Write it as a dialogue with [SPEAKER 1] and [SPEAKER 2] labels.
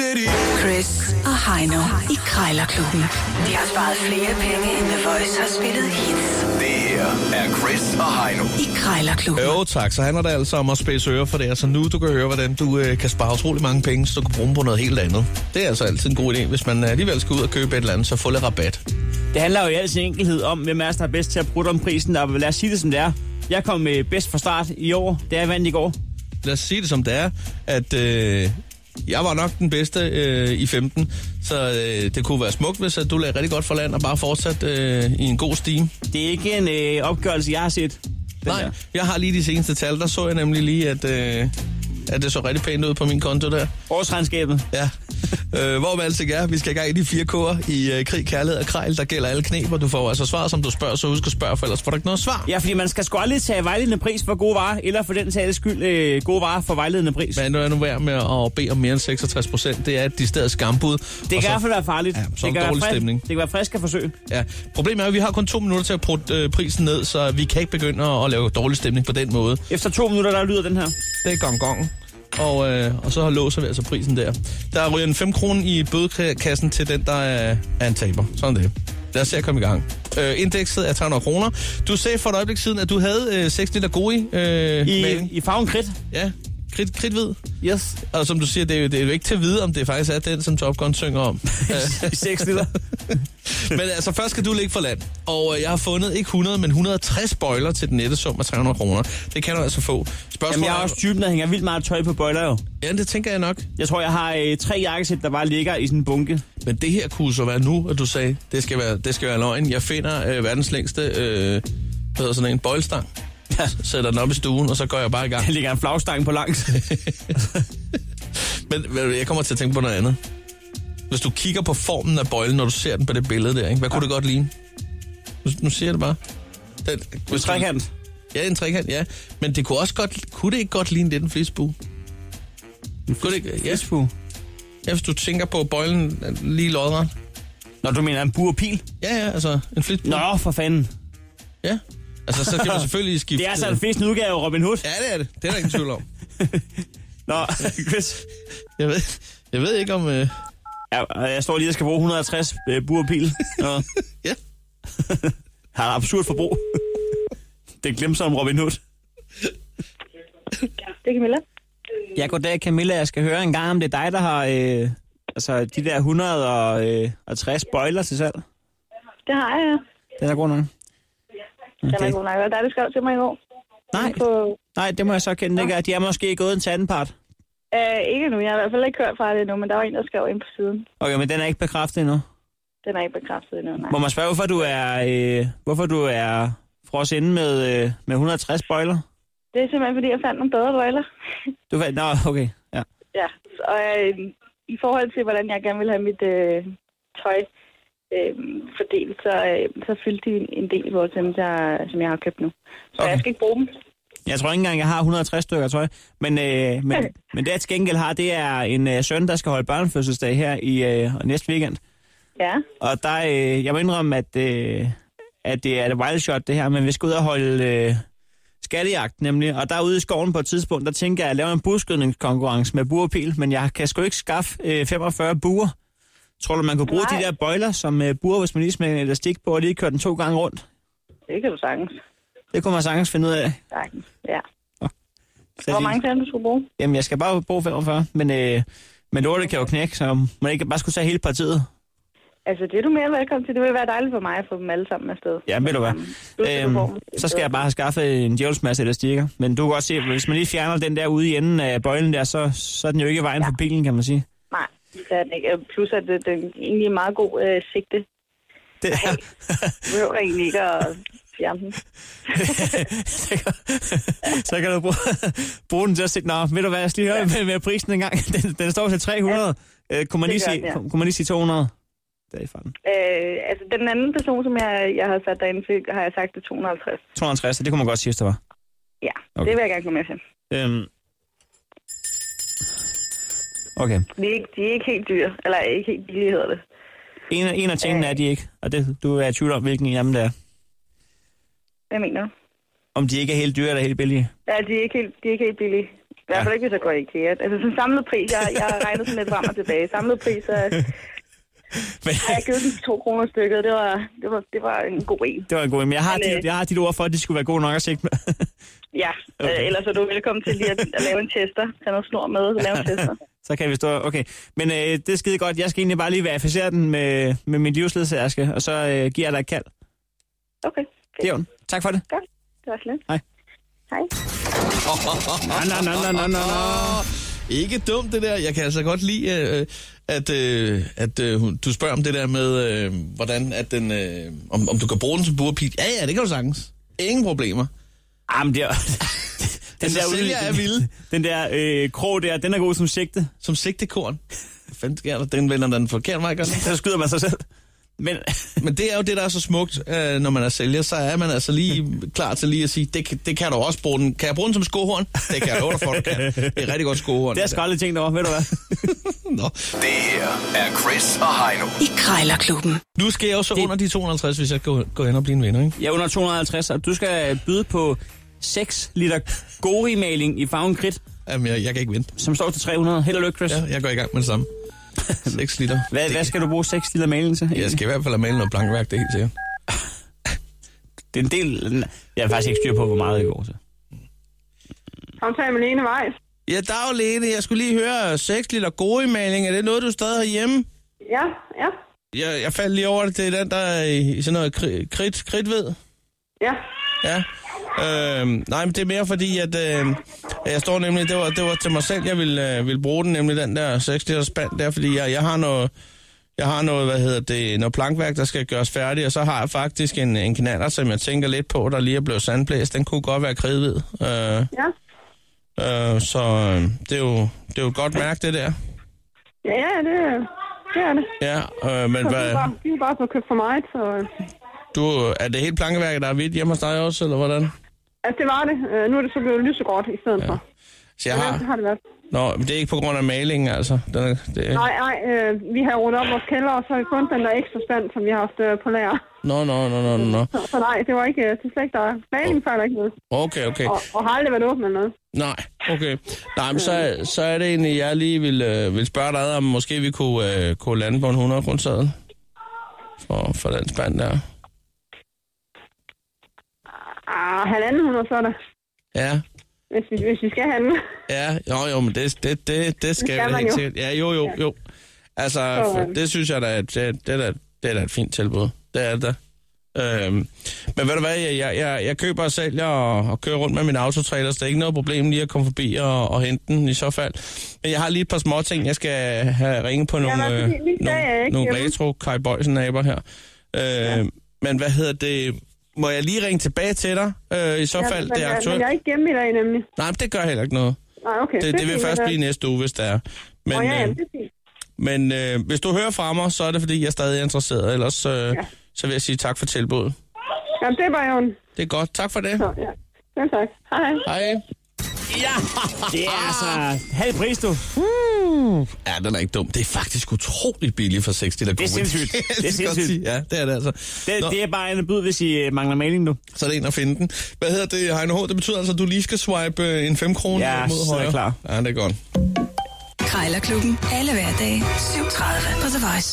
[SPEAKER 1] City.
[SPEAKER 2] Chris og Heino i Krejlerklubben. De har sparet flere penge, end The Voice har spillet hits
[SPEAKER 1] Det her er Chris og Heino.
[SPEAKER 2] i Krejlerklubben.
[SPEAKER 3] Jo tak, så handler det altså om at spidse ører for det. Altså nu du kan høre, hvordan du øh, kan spare utrolig mange penge, så du kan bruge dem på noget helt andet. Det er altså altid en god idé. Hvis man alligevel skal ud og købe et eller andet, så få lidt rabat.
[SPEAKER 4] Det handler jo i al sin enkelhed om, hvem er der er bedst til at bruge om prisen, og lad os sige det, som det er. Jeg kom med bedst fra start i år, det jeg vandt i går.
[SPEAKER 3] Lad os sige det som det er, at øh, jeg var nok den bedste øh, i 15, så øh, det kunne være smukt, hvis at du lagde rigtig godt for land og bare fortsat øh, i en god stime.
[SPEAKER 4] Det er ikke en øh, opgørelse, jeg har set. Den
[SPEAKER 3] Nej,
[SPEAKER 4] der.
[SPEAKER 3] jeg har lige de seneste tal. Der så jeg nemlig lige, at, øh, at det så rigtig pænt ud på min konto der.
[SPEAKER 4] Årsregnskabet.
[SPEAKER 3] Ja. Øh, hvor man altså er, vi skal i gang i de fire kår i øh, krig, kærlighed og krejl, der gælder alle knep, og du får altså svar, som du spørger, så husk at spørge, for ellers får du ikke noget svar.
[SPEAKER 4] Ja, fordi man skal sgu aldrig tage vejledende pris for gode varer, eller for den sags skyld øh, gode varer for vejledende pris.
[SPEAKER 3] Men nu er nu værd med at bede om mere end 66 procent. Det er et decideret skambud.
[SPEAKER 4] det
[SPEAKER 3] Og
[SPEAKER 4] kan i
[SPEAKER 3] så,
[SPEAKER 4] hvert fald være farligt.
[SPEAKER 3] Ja, så
[SPEAKER 4] det,
[SPEAKER 3] en
[SPEAKER 4] kan være
[SPEAKER 3] dårlig
[SPEAKER 4] frisk,
[SPEAKER 3] stemning.
[SPEAKER 4] det kan være frisk at forsøge.
[SPEAKER 3] ja. Problemet er, at vi har kun to minutter til at putte øh, prisen ned, så vi kan ikke begynde at, at lave dårlig stemning på den måde.
[SPEAKER 4] Efter to minutter, der lyder den her.
[SPEAKER 3] Det er gong gong. Og, øh, og så låser vi altså prisen der. Der ryger en 5 kroner i bødekassen til den, der er, er en taber. Sådan det. Lad os se at komme i gang. Øh, indekset er 300 kroner. Du sagde for et øjeblik siden, at du havde øh, 6 liter gode i. Øh,
[SPEAKER 4] I,
[SPEAKER 3] maling.
[SPEAKER 4] i farven kridt.
[SPEAKER 3] Ja, krit, kridtvid.
[SPEAKER 4] Yes.
[SPEAKER 3] Og som du siger, det er, jo, det er jo ikke til at vide, om det faktisk er den, som Top Gun synger om. Øh,
[SPEAKER 4] I 6 liter.
[SPEAKER 3] men altså, først skal du ligge for land. Og øh, jeg har fundet ikke 100, men 160 bøjler til den nette sum af 300 kroner. Det kan du altså få. Spørgsmålet
[SPEAKER 4] Jamen, jeg er også typen, der hænger vildt meget tøj på bøjler jo.
[SPEAKER 3] Ja, det tænker jeg nok.
[SPEAKER 4] Jeg tror, jeg har øh, tre jakkesæt, der bare ligger i sådan en bunke.
[SPEAKER 3] Men det her kunne så være nu, at du sagde, det skal være, det skal være løgn. Jeg finder øh, verdens længste, øh, hvad hedder sådan en, bøjlestang.
[SPEAKER 4] Ja.
[SPEAKER 3] S- Sætter den op i stuen, og så går jeg bare i gang.
[SPEAKER 4] Der ligger en flagstang på langs.
[SPEAKER 3] Men hvad- jeg kommer til at tænke på noget andet. Hvis du kigger på formen af bøjlen, når du ser den på det billede der, ikke? hvad kunne det godt ligne? Nu, nu siger jeg det bare. Den,
[SPEAKER 4] En
[SPEAKER 3] hvis du-
[SPEAKER 4] trekant.
[SPEAKER 3] Ja, en trekant, ja. Men det kunne også godt, kunne det ikke godt ligne lidt en flisbue? Kunne det ikke? Ja,
[SPEAKER 4] Flisbue.
[SPEAKER 3] ja, hvis du tænker på bøjlen øh, lige lodret.
[SPEAKER 4] Nå, du mener en burpil?
[SPEAKER 3] Ja, ja, altså en flisbue.
[SPEAKER 4] Nå, for fanden.
[SPEAKER 3] Ja. Altså, så skal man selvfølgelig skifte...
[SPEAKER 4] Det er altså en fiskende udgave af Robin Hood.
[SPEAKER 3] Ja, det er det. Det er der ingen tvivl om.
[SPEAKER 4] Nå, Chris.
[SPEAKER 3] Jeg ved, jeg ved ikke om... Øh...
[SPEAKER 4] Jeg, jeg står lige og skal bruge 160 øh, burpil. Nå,
[SPEAKER 3] Ja.
[SPEAKER 4] har et absurd forbrug. Det glemte som Robin Hood.
[SPEAKER 5] Det er Camilla.
[SPEAKER 4] Ja, goddag Camilla. Jeg skal høre en gang, om det er dig, der har øh, altså, de der øh, 160 bøjler til salg.
[SPEAKER 5] Det har jeg, ja.
[SPEAKER 4] Den er god nok.
[SPEAKER 5] Den er
[SPEAKER 4] Okay.
[SPEAKER 5] god nok. Og der er Mm, det skrev til mig i går.
[SPEAKER 4] Nej,
[SPEAKER 5] På,
[SPEAKER 4] nej, det må jeg så kende. ikke. De er måske gået en til anden part.
[SPEAKER 5] øh, ikke nu. Jeg har i hvert fald ikke hørt fra det endnu, men der var en, der skrev ind på siden.
[SPEAKER 4] Okay, men den er ikke bekræftet endnu.
[SPEAKER 5] Den er ikke bekræftet endnu, nej.
[SPEAKER 4] Må man spørge, hvorfor du er, øh, hvorfor du er fros inde med, øh, med 160 bøjler?
[SPEAKER 5] Det er simpelthen, fordi jeg fandt nogle bedre briller.
[SPEAKER 4] Du fandt, nå, okay. Ja.
[SPEAKER 5] Ja, og øh, i forhold til, hvordan jeg gerne ville have mit øh, tøj øh, fordelt, så, øh, så fyldte de en- en del i vores dem, der, som jeg har købt nu. Så okay. jeg skal ikke bruge dem.
[SPEAKER 4] Jeg tror ikke engang, jeg har 160 stykker tøj. Men, øh, men, men det, jeg til gengæld har, det er en øh, søn, der skal holde børnefødselsdag her i øh, næste weekend.
[SPEAKER 5] Ja,
[SPEAKER 4] Og der, øh, jeg må indrømme, at, øh, at det er et wild shot, det her. Men vi skal ud og holde øh, skattejagt, nemlig. Og der ude i skoven på et tidspunkt, der tænker jeg at lave en buskydningskonkurrence med buerpil. Men jeg kan sgu ikke skaffe øh, 45 buer. Tror du, man kunne bruge
[SPEAKER 5] Nej.
[SPEAKER 4] de der bøjler som øh, buer, hvis man lige smed en elastik på og lige kørte den to gange rundt?
[SPEAKER 5] det kan du sagtens.
[SPEAKER 4] Det kunne man sagtens finde ud af.
[SPEAKER 5] sagtens. Ja.
[SPEAKER 4] Så
[SPEAKER 5] Hvor
[SPEAKER 4] lige-
[SPEAKER 5] mange fanden du skulle bruge?
[SPEAKER 4] Jamen, jeg skal bare bruge 45, men, øh, men lortet kan jo knække, så man ikke bare skulle tage hele partiet.
[SPEAKER 5] Altså, det er du mere velkommen til. Det vil være dejligt for mig at få dem alle sammen afsted.
[SPEAKER 4] Ja, ved du hvad. Øhm, så skal jeg bare have skaffet en djævelsmasse elastikker. Men du kan godt se, hvis man lige fjerner den der ude i enden af bøjlen der, så, så er den jo ikke i vejen ja. for pilen, kan man sige.
[SPEAKER 5] Nej, det er den ikke. Øh, Plus, at det, det er egentlig en meget god øh, sigte.
[SPEAKER 4] Det,
[SPEAKER 5] Hey. Du behøver egentlig ikke at fjerne den.
[SPEAKER 4] så, kan, så kan du bruge, bruge den til at sige, nå, ved du hvad, jeg skal lige høre med, med prisen en gang. Den, den står til 300. Ja. Øh, kunne, man
[SPEAKER 5] Det
[SPEAKER 4] lige
[SPEAKER 5] gør
[SPEAKER 4] sige,
[SPEAKER 5] den, ja.
[SPEAKER 4] kunne man lige sige 200? Det er i fanden.
[SPEAKER 5] Øh, altså, den anden person, som jeg, jeg har sat derinde til, har jeg sagt, det er 250.
[SPEAKER 4] 250, det kunne man godt sige, hvis det var.
[SPEAKER 5] Ja,
[SPEAKER 4] Okay.
[SPEAKER 5] okay. det vil jeg gerne gå med til.
[SPEAKER 4] Øhm. Okay.
[SPEAKER 5] De er, ikke, de er ikke helt dyre, eller ikke helt billige, hedder det.
[SPEAKER 4] En, af- en af tingene
[SPEAKER 5] Øh.
[SPEAKER 4] er de ikke, og det, du er i tvivl om, hvilken en af dem det er.
[SPEAKER 5] Hvad mener du?
[SPEAKER 4] Om de ikke er helt dyre eller helt billige.
[SPEAKER 5] Ja, de er ikke helt, de er ikke helt billige. I hvert fald ikke, hvis jeg går i IKEA. Altså, sådan samlet pris, jeg, jeg har regnet sådan lidt frem og tilbage. Samlet pris, så
[SPEAKER 4] Men,
[SPEAKER 5] har jeg givet den to kroner stykket. Det var, det var, det var en god en.
[SPEAKER 4] det var en god en. Men jeg har,
[SPEAKER 5] Men, øh,
[SPEAKER 4] dit, jeg har dit ord for, at de skulle være gode nok at sigte med.
[SPEAKER 5] Ja, okay. øh, ellers er du velkommen til lige at, at lave en tester. Tag noget snor med og lave en tester.
[SPEAKER 4] Så kan vi stå... Okay. Men øh, det er skide godt. Jeg skal egentlig bare lige verificere den med, med min livsledsagerske, og så øh, giver jeg dig et kald.
[SPEAKER 5] Okay,
[SPEAKER 4] Det er jo den. Tak for det.
[SPEAKER 5] godt. Det var slet.
[SPEAKER 4] Hej.
[SPEAKER 5] Hej.
[SPEAKER 4] Nej, nej, nej, nej, nej, nej.
[SPEAKER 3] Ikke dumt det der. Jeg kan altså godt lide, øh, at, øh, at øh, hun- du spørger om det der med, øh, hvordan at den, øh, om, om du kan bruge den som burpil. Ja, ja, det kan du sagtens. Ingen problemer.
[SPEAKER 4] Ah, men det er... Den
[SPEAKER 3] Altså,
[SPEAKER 4] der,
[SPEAKER 3] sælger
[SPEAKER 4] udvikling-
[SPEAKER 3] er vilde.
[SPEAKER 4] den der øh, krog der, den er god som sigte.
[SPEAKER 3] Som sigtekorn. Hvad fanden sker der? Den vender den forkert vej, gør den ikke?
[SPEAKER 4] Så skyder man sig selv. Men
[SPEAKER 3] Men det er jo det, der er så smukt, øh, når man er sælger, så er man altså lige klar til lige at sige, det, kan- det kan du også bruge den. Kan jeg bruge den som skohorn? Det kan jeg love dig for, du kan. Det er et rigtig godt skohorn.
[SPEAKER 4] det er skoldet ting derovre, ved du hvad?
[SPEAKER 3] Nå.
[SPEAKER 1] Det her er Chris og Heino.
[SPEAKER 2] i Krejlerklubben.
[SPEAKER 3] Nu skal jeg jo så det... under de 250, hvis jeg går, går hen og bliver en vinder, ikke?
[SPEAKER 4] Jeg er under 250, og du skal øh, byde på 6 liter gori-maling i farven kridt,
[SPEAKER 3] Jamen, jeg, jeg kan ikke vente.
[SPEAKER 4] som står til 300. Held og lykke, Chris. Ja.
[SPEAKER 3] Ja, jeg går i gang med det samme. 6 liter.
[SPEAKER 4] Hvad, hvad skal du bruge 6 liter maling til?
[SPEAKER 3] Jeg skal i hvert fald have malet noget blankværk, det er helt sikkert.
[SPEAKER 4] Det er en del... Jeg har faktisk ikke styr på, hvor meget det går til.
[SPEAKER 5] Samtale med Lene Weiss.
[SPEAKER 3] Ja, dag Lene, jeg skulle lige høre 6 liter gode maling. Er det noget, du stadig har hjemme?
[SPEAKER 5] Ja, ja,
[SPEAKER 3] Jeg, jeg faldt lige over det. Det er den, der er i, i sådan noget kri- kridt, kridt ved.
[SPEAKER 5] ja.
[SPEAKER 3] Ja. Øhm, nej, men det er mere fordi, at øh, jeg står nemlig, det var, det var til mig selv, jeg ville, øh, ville bruge den, nemlig den der 6 liter spand der, fordi jeg, jeg har noget, jeg har noget, hvad hedder det, noget plankværk, der skal gøres færdigt, og så har jeg faktisk en, en knaller, som jeg tænker lidt på, der lige er blevet sandblæst. Den kunne godt være kridhvid. Øh,
[SPEAKER 5] Ja,
[SPEAKER 3] øh, så øh, det, er jo, det er jo et godt mærke, det der.
[SPEAKER 5] ja, ja det, det er det.
[SPEAKER 3] Ja, øh, men hvad,
[SPEAKER 5] de er bare så købt for mig, så...
[SPEAKER 3] du, er det helt plankeværket, der er hvidt hjemme hos dig også, eller hvordan?
[SPEAKER 5] Altså, det var det. Nu er det så blevet lysegråt i stedet ja. for.
[SPEAKER 3] Så jeg har...
[SPEAKER 5] har det været.
[SPEAKER 3] Nå, men det er ikke på grund af malingen, altså. Den er, det,
[SPEAKER 5] Nej, nej, øh, vi har rundt op vores kælder, og så har vi fundet den der ekstra stand, som vi har haft øh, på lager.
[SPEAKER 3] Nå, nå, nå, nå, nå, nå.
[SPEAKER 5] Så, så nej, det var ikke, øh, det er slet ikke der. Maling fejler ikke noget,
[SPEAKER 3] Okay, okay.
[SPEAKER 5] og, og har aldrig været åbent eller noget.
[SPEAKER 3] Nej, okay. Nej, men så, så er det egentlig, jeg lige vil, øh, vil spørge dig ad, om måske vi kunne, øh, kunne lande på en 100 kroner for, for den spand der.
[SPEAKER 5] Ah, halvanden hundrede så er der,
[SPEAKER 3] Ja,
[SPEAKER 5] hvis vi, hvis vi skal handle.
[SPEAKER 3] ja, jo, jo, men det, det, det, det skal
[SPEAKER 5] skal
[SPEAKER 3] vi
[SPEAKER 5] man
[SPEAKER 3] helt
[SPEAKER 5] jo.
[SPEAKER 3] sikkert. Ja, jo, jo, jo. Altså,
[SPEAKER 5] Så,
[SPEAKER 3] for,
[SPEAKER 5] øh.
[SPEAKER 3] det synes jeg da, at det, det, er da, det er da et fint tilbud. Det er det da. Øhm, men ved du hvad, jeg, jeg, jeg, jeg køber og sælger og, og kører rundt med min autotrailer, så det er ikke noget problem lige at komme forbi og, og hente den i så fald. Men jeg har lige et par små ting, jeg skal have ringet på nogle,
[SPEAKER 5] altså,
[SPEAKER 3] øh,
[SPEAKER 5] lige- lige der er jeg
[SPEAKER 3] nogle,
[SPEAKER 5] ikke
[SPEAKER 3] nogle
[SPEAKER 5] hjemme.
[SPEAKER 3] retro Kai Bøjsen-naber her. Øh, Men hvad hedder det? Må jeg lige ringe tilbage til dig øh, i så
[SPEAKER 5] Ja,
[SPEAKER 3] fald?
[SPEAKER 5] men,
[SPEAKER 3] Det er
[SPEAKER 5] øh, Men
[SPEAKER 3] aktuelt.
[SPEAKER 5] jeg er ikke hjemme i dag, nemlig.
[SPEAKER 3] Nej, men det gør heller ikke noget.
[SPEAKER 5] Nej, okay.
[SPEAKER 3] Det, det vil
[SPEAKER 5] fint,
[SPEAKER 3] først
[SPEAKER 5] men, øh,
[SPEAKER 3] blive næste uge, hvis det er. Men,
[SPEAKER 5] Åh, ja,
[SPEAKER 3] øh,
[SPEAKER 5] jamen, det er fint.
[SPEAKER 3] men øh, hvis du hører fra mig, så er det, fordi jeg stadig er interesseret. Ellers øh, ja. så vil jeg sige tak for tilbuddet.
[SPEAKER 5] Jamen, det er bare jo en...
[SPEAKER 3] Det er godt. Tak for det.
[SPEAKER 5] Så, ja. Selv tak. Hej, hej.
[SPEAKER 3] Hej.
[SPEAKER 4] Det er altså halv pris, du.
[SPEAKER 3] Ja, den er ikke dum. Det er faktisk utroligt billigt for 6 liter
[SPEAKER 4] Det er sindssygt.
[SPEAKER 3] Det er
[SPEAKER 4] Det er sindssygt.
[SPEAKER 3] sindssygt. Ja, det er det altså.
[SPEAKER 4] Det,
[SPEAKER 3] Nå,
[SPEAKER 4] det er bare en bud, hvis I øh, mangler maling nu.
[SPEAKER 3] Så er det en at finde den. Hvad hedder det, Heino H? Det betyder altså, at du lige skal swipe øh, en 5 kroner
[SPEAKER 4] Ja,
[SPEAKER 3] mod
[SPEAKER 4] så er
[SPEAKER 3] højre.
[SPEAKER 4] jeg klar.
[SPEAKER 3] Ja, det er godt.
[SPEAKER 2] Krejlerklubben. Alle hverdage 7.30 på The Voice.